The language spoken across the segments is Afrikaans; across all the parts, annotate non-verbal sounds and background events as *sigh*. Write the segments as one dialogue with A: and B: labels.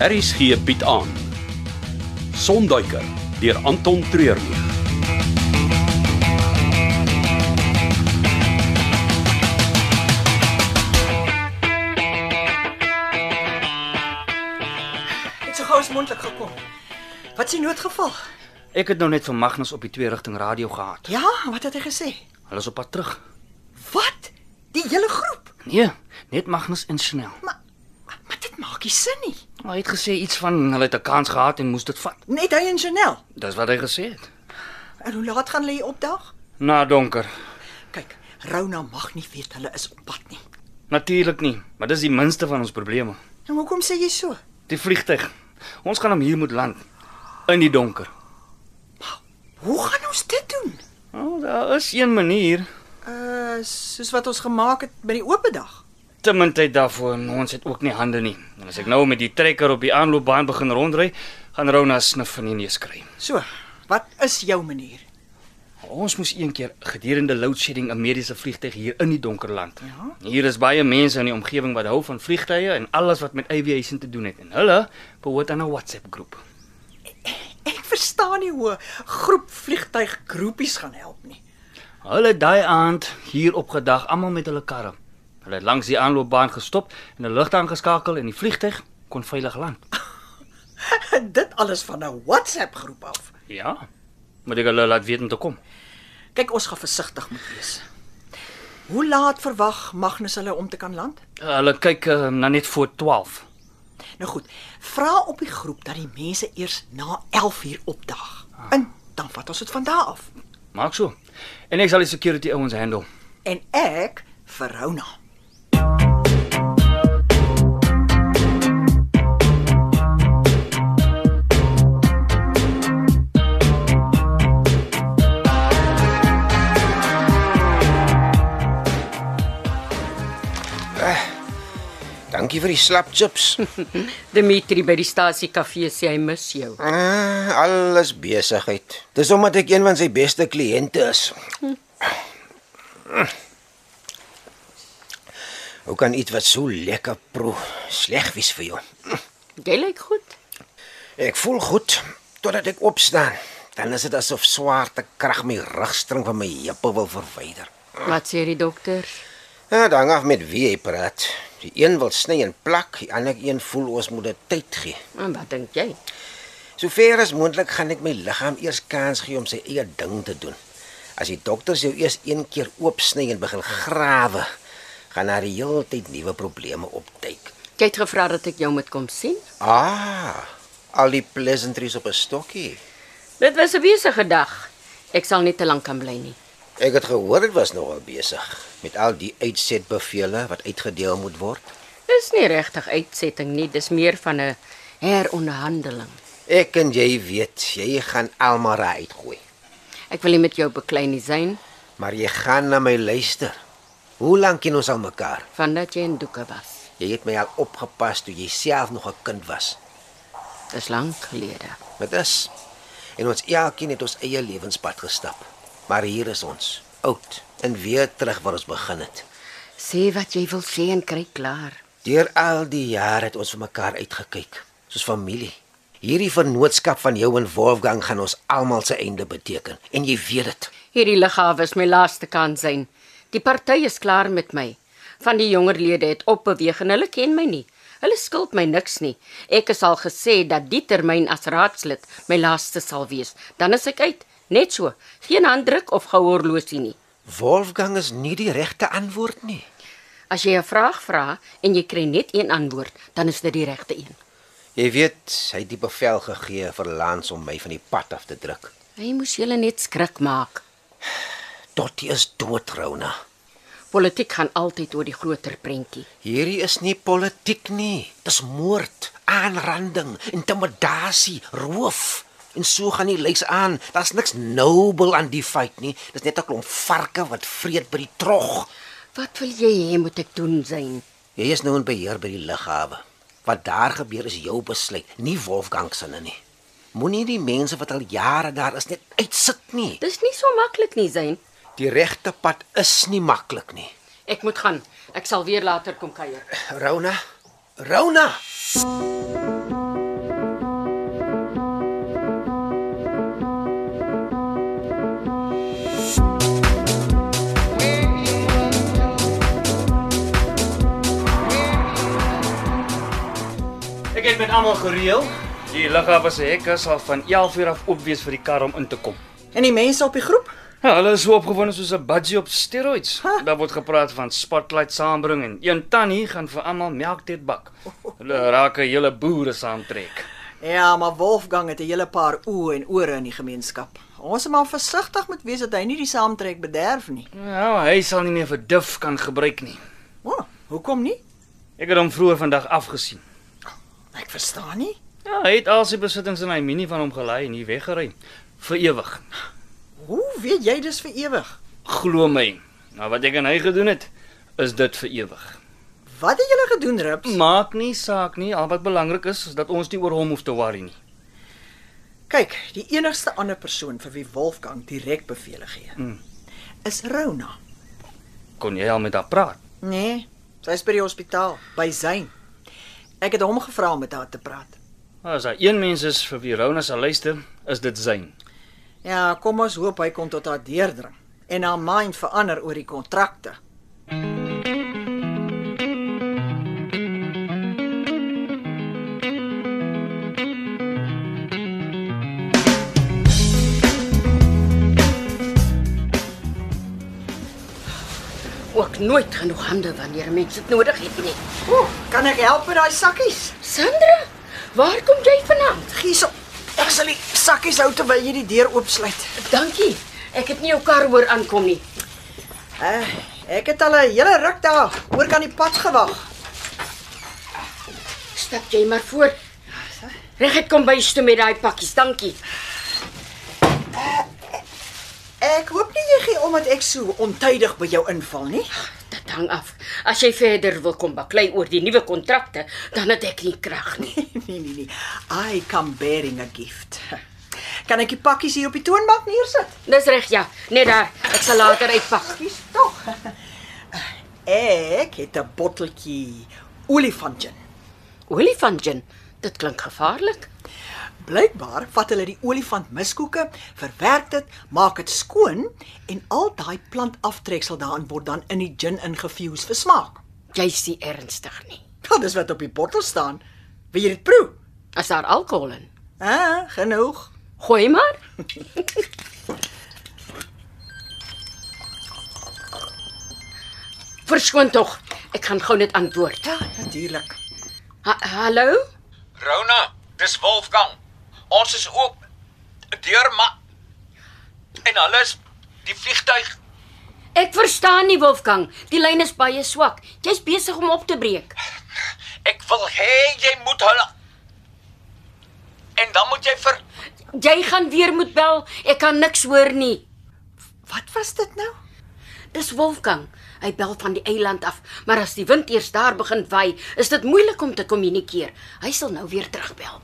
A: RSG bied aan Sonduiker deur Anton Treurnig.
B: Het so gou as moontlik gekom. Wat s'ie noodgeval?
C: Ek het nou net vir Magnus op die twee rigting radio gehad.
B: Ja, wat het hy gesê?
C: Hulle is op pad terug.
B: Wat? Die hele groep.
C: Nee, net Magnus en Chanel.
B: Maar maar dit maak nie sin nie.
C: Hy het gesê iets van hulle het 'n kans gehad en moes dit vat.
B: Net hy en Chanel.
C: Dis wat hy gesê het.
B: En hoe laat gaan hulle hier opdag?
C: Na donker.
B: Kyk, Rona mag nie weet hulle is op pad nie.
C: Natuurlik nie, maar dis die minste van ons probleme.
B: En hoekom sê jy so?
C: Die vliegtyg. Ons gaan hom hier moet land in die donker.
B: Hoe gaan ons dit doen?
C: Nou, daar is een manier.
B: Uh, soos wat ons gemaak het by die opendag.
C: Te min tyd daarvoor en ons het ook nie hande nie. En as ek nou met die trekker op die aanloopbaan begin rondry, gaan Rona snif van die neus kry.
B: So, wat is jou manier?
C: Ons moes een keer gedurende load shedding 'n mediese vliegtyg hier in die donker land. Ja? Hier is baie mense in die omgewing wat hou van vliegtye en alles wat met aviation te doen het en hulle behoort aan 'n WhatsApp groep.
B: Ek verstaan nie hoe 'n groep vliegtyg groepies gaan help nie.
C: Hulle het daai aand hier opgedag almal met hulle karre. Hulle het langs die aanloopbaan gestop en 'n lig aangeskakel en die vliegtyg kon veilig land.
B: *laughs* dit alles van 'n WhatsApp groep af.
C: Ja. Moet ek hulle laat weet om te kom.
B: Kyk, ons gaan versigtig moet wees. Hoe laat verwag Magnus hulle om te kan land?
C: Hulle kyk uh, na net voor 12.
B: Nou goed, vra op die groep dat die mense eers na 11 uur opdag. En dan vat ons dit van daar af.
C: Maak so. En ek sal die security ouens handle.
B: En ek vir Rona.
D: Dankie vir die slap chips. *laughs*
E: Dimitri by die stasie kafee sê hy mis jou.
D: Ah, alles besigheid. Dis omdat ek een van sy beste kliënte is. *clears throat* Hoe kan iets wat so lekker proe sleg wees vir jou?
E: Jy lyk goed.
D: Ek voel goed totdat ek opstaan. Dan is dit asof swaarte krag my rugstring van my heupe wil verwyder.
E: Wat sê die dokter?
D: Ja, dan af met wie jy praat. Die een wil sny en plak, die ander een voel ons moet dit tyd gee.
E: En wat dink jy?
D: Sover as moontlik gaan ek my liggaam eers kans gee om sy eie ding te doen. As die dokters jou eers een keer oopsny en begin grawe, gaan daar die hele tyd nuwe probleme opduik.
E: Jy het gevra dat ek jou moet kom sien.
D: Ah, al die pleasantries op 'n stokkie.
E: Dit was 'n besige dag. Ek sal nie te lank kan bly nie.
D: Ek het gehoor dit was nogal besig met al die uitsetbevele wat uitgedeel moet word.
E: Dis nie regtig uitsetting nie, dis meer van 'n heronderhandeling.
D: Ek en jy weet, jy gaan Elmara uitgooi,
E: Ek wil nie met jou beklei nie, Zain,
D: maar jy gaan na my luister. Hoe lank ken ons al mekaar?
E: vandat jy in Doeke was.
D: Jy het my al opgepas toe jy self nog 'n kind was.
E: Dis lank gelede.
D: Dit is. En ons elkeen het ons eie lewenspad gestap. Maar hier is ons, oud en weer terug waar ons begin het.
E: Sê wat jy wil sê en kry klaar.
D: Deur al die jare het ons vir mekaar uitgekyk, soos familie. Hierdie vennootskap van jou en Wolfgang gaan ons almal se einde beteken en jy weet dit.
E: Hierdie liggawe is my laaste kans, Zain. Die party is klaar met my. Van die jonger lede het opbeweeg en hulle ken my nie. Hulle skuld my niks nie. Ek is al gesê dat die termyn as raadslid my laaste sal wees. Dan is ek uit, net so. Geen handdruk of goue horlosie nie.
D: Wolfgang is nie die regte antwoord nie.
E: As jy 'n vraag vra en jy kry net een antwoord, dan is dit die regte een.
D: Jy weet, hy het die bevel gegee vir Lance om my van die pad af te druk.
E: Hy moes julle net skrik maak.
D: Tot hy is dood, Rona.
E: Politiek gaan altyd oor die groter prentjie.
D: Hierdie is nie politiek nie. Dis moord, aanranding, intimidasie, roof. En so gaan die lys aan. Daar's niks nobel aan die feit nie. Dis net 'n klomp varke wat vreet by die trog.
E: Wat wil jy hê moet ek doen, Zain?
D: Jy is nou in beheer by die lughawe. Wat daar gebeur is jou besluit, nie Wolfgang se nou nie. Moenie die mense wat al jare daar is net uitsit nie.
E: Dis nie so maklik nie, Zain.
D: Die regte pad is nie maklik nie.
E: Ek moet gaan. Ek sal weer later kom kuier.
D: Rona, Rona.
C: almal gereël. Die lughawe se hekke sal van 11:00 af oop wees vir die kar om in te kom.
B: En die mense op die groep?
C: Ja, hulle is so opgewonde soos 'n budgie op steroids.
B: Ha.
C: Daar word gepraat van spotlight saambring en een tannie gaan vir almal melktyd bak. Hulle raak 'n hele boere saamtrek.
B: Ja, maar Wolfgang het 'n hele paar oë en ore in die gemeenskap. Ons moet maar versigtig moet wees dat hy nie die saamtrek bederf nie.
C: Nou, hy sal nie meer vir dif kan gebruik nie.
B: O, oh, hoekom nie?
C: Ek het hom vroeër vandag afgesien.
B: Ek verstaan nie.
C: Ja, hy het al sy besittings in hy minie van hom gelei en hier weggery vir ewig.
B: Hoe weet jy dis vir ewig?
C: Glo my. Nou wat ek aan hy gedoen het, is dit vir ewig.
B: Wat het julle gedoen, Rips?
C: Maak nie saak nie, al wat belangrik is is dat ons nie oor hom hoef te worry nie.
B: Kyk, die enigste ander persoon vir wie Wolfgang direk beveel gee,
C: Hmm.
B: is Rona.
C: Kon jy al met haar praat?
B: Nee, sy is by die hospitaal by Zain. Ek het hom gevra om met haar te praat.
C: Nou, As daar een mens is vir wie Rona sal luister, is dit Zayn.
B: Ja, kom ons hoop hy kom tot haar deurdring en haar mind verander oor die kontrakte.
E: Ook nooit genoeg hande wanneer 'n mens dit nodig het nie.
B: Ooh, kan ek help met daai sakkies?
E: Sandra, waar kom jy vanaand?
B: Gies op. Ek sal die sakkies hou terwyl jy die deur oopsluit.
E: Dankie. Ek het nie jou kar hoor aankom nie.
B: Uh, ek het al 'n hele ruk daar oor kan die pad gewag.
E: Stap jy maar voor. Reguit kom bys toe met daai pakkies. Dankie.
B: Ek hoop nie jy gee om dat ek so ontydig by jou inval nie.
E: Dit hang af. As jy verder wil kom baklei oor die nuwe kontrakte, dan het ek nie krag nie.
B: *laughs* nee nee nee. I come bearing a gift. *laughs* Kan ek die pakkies hier op die toonbank neersit?
E: *laughs* Dis reg ja. Net daar. Ek sal later uitpak.
B: Kies tog. *laughs* Ek het 'n botteltjie olifantjin.
E: Olifant gin. Dit klink gevaarlik.
B: Blykbaar vat hulle die olifant miskoeke, verwerk dit, maak dit skoon en al daai plantaftreksel daarin word dan in die gin ingefuse vir smaak. *laughs*
E: Jy's nie ernstig nie.
B: Wel, dis wat op die bottel staan. Wil jy dit proe?
E: As daar alkohol in.
B: Ah, genoeg.
E: Gooi maar. Verskoon tog. Ek gaan gou net antwoord.
B: Ja, natuurlik.
E: Ha hallo?
F: Rona, dis Wolfgang. Ons is ook deur maar en alles die vliegtyg.
E: Ek verstaan nie Wolfgang. Die lyn is baie swak. Jy's besig om op te breek.
F: Ek wil hê jy moet hulle En dan moet jy vir
E: Jy gaan weer moet bel. Ek kan niks hoor nie.
B: Wat was dit nou?
E: Dis Wolfgang. Hy bel van die eiland af, maar as die wind eers daar begin waai, is dit moeilik om te kommunikeer. Hy sal nou weer terugbel.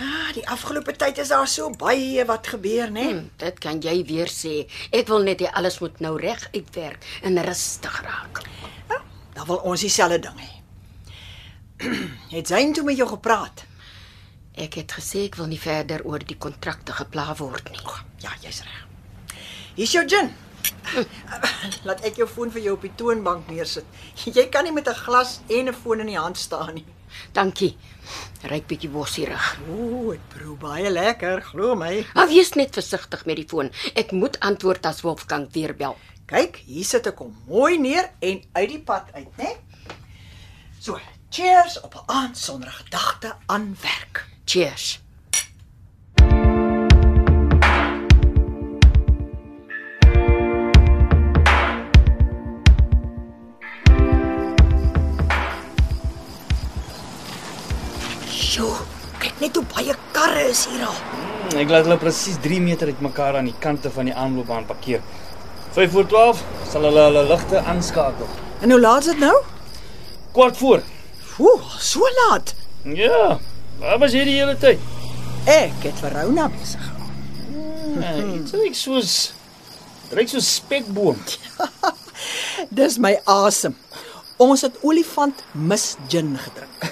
B: Ah, die afgelope tyd is daar so baie wat gebeur, né?
E: Hm, dit kan jy weer sê. Ek wil net hê alles moet nou reg uitwerk en rustig raak.
B: Nou, dan wil ons dieselfde ding hê. *clears throat* het Zayn toe met jou gepraat?
E: Ek het gesê ek wil nie verder oor die kontrakte gepla word nie.
B: Ja, jy's reg. Hier's jou gin. *laughs* Laat ek jou foon vir jou op die toonbank neersit. Jy kan nie met 'n glas en 'n foon in die hand staan nie.
E: Dankie. Ryk bietjie bossierig.
B: Ooh, dit proe baie lekker, glo my.
E: Maar wees net versigtig met die foon. Ek moet antwoord as Wolfgang weer bel.
B: Kyk, hier sit ek hom mooi neer en uit die pad uit, né? So, cheers op 'n aand sonder gedagte aan werk.
E: Cheers.
B: Sjoe, kyk net hoe baie karre is hier al.
C: Ek laat hulle presies 3 meter uitmekaar aan die kante van die aanloopbaan parkeer. 5 voor 12 sal hulle hulle ligte aanskakel.
B: En hoe laat is dit nou?
C: Kwart voor.
B: Ooh, so laat.
C: Ja. Waar was jy die hele tyd?
B: Ek het vir Rona besig. gehou.
C: Nee, dit lyk soos ryk soos spekboom.
B: Dis my asem. Ons het olifant mis gin gedrink.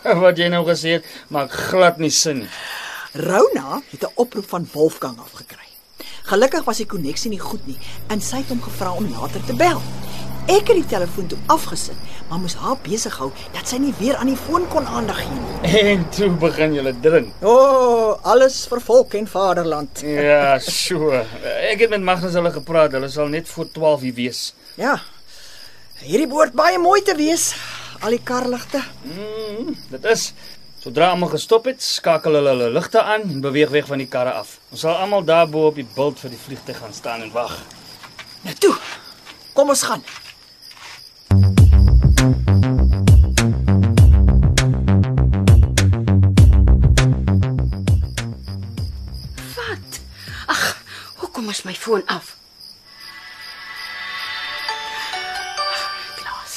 C: *laughs* Wat jy nou gesê het, maak glad nie sin nie.
B: Rona het 'n oproep van Wolfgang afgekry. Gelukkig was die koneksie nie goed nie en sy het hom gevra om later te bel. Ek het die telefoon toe afgesit, maar moes haar besig hou dat sy nie weer aan die foon kon aandag gee nie.
C: En toe begin jy drink.
B: O, oh, alles vir volk en vaderland.
C: Ja, so. Ek het met Magnus hulle gepraat. Hulle sal net voor 12 hier wees.
B: Ja. Hierdie behoort baie mooi te wees. Al die karligte.
C: Mm, dit is sodra almal gestop het, skakel hulle hulle ligte aan en beweeg weg van die karre af. Ons sal almal daarbo op die bult vir die vliegtuig gaan staan en wag.
B: Nou toe. Kom ons gaan.
E: Wat? Ag, hoekom is my foon af? Klaas.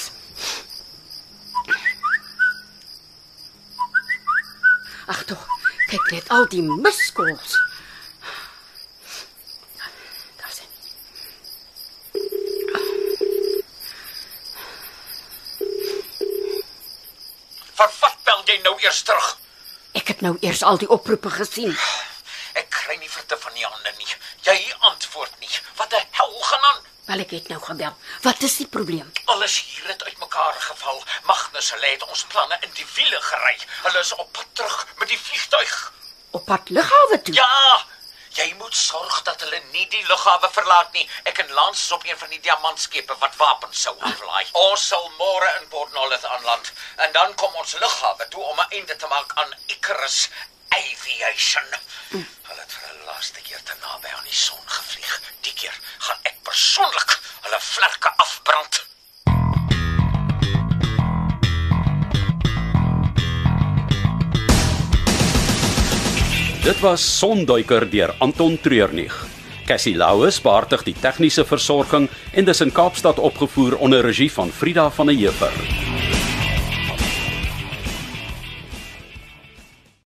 E: Ag tog, kyk net al die muskols. Daar sien.
D: Vervat bel jy nou eers terug.
E: Ek het nou eers al die oproepe gesien.
D: Ek kry nie verte van die hande nie. Jy antwoord nie. Wat die hel gaan aan?
E: Wel ek het nou gebel. Wat is die probleem?
D: Alles hier het uitmekaar geval. Magnus hulle het ons planne in die wiele gery. Hulle is op pad terug met die vliegtuig.
E: Op pad lughawe toe.
D: Ja! Jy moet sorg dat hulle nie die lughawe verlaat nie. Ek en Lance is op een van die diamantskepe wat wapens sou aflaai. Ons sal môre in Port Nolloth aanland en dan kom ons lughawe toe om 'n einde te maak aan Icarus Aviation. Hulle het vir 'n laaste keer te naby aan die son gevlieg. Die keer gaan ek persoonlik hulle vlerke afbrand.
A: Dit was Sonduiker deur Anton Treurnig. Cassie Louws beheerdig die tegniese versorging en dis in Kaapstad opgevoer onder regie van Frida van der Heever.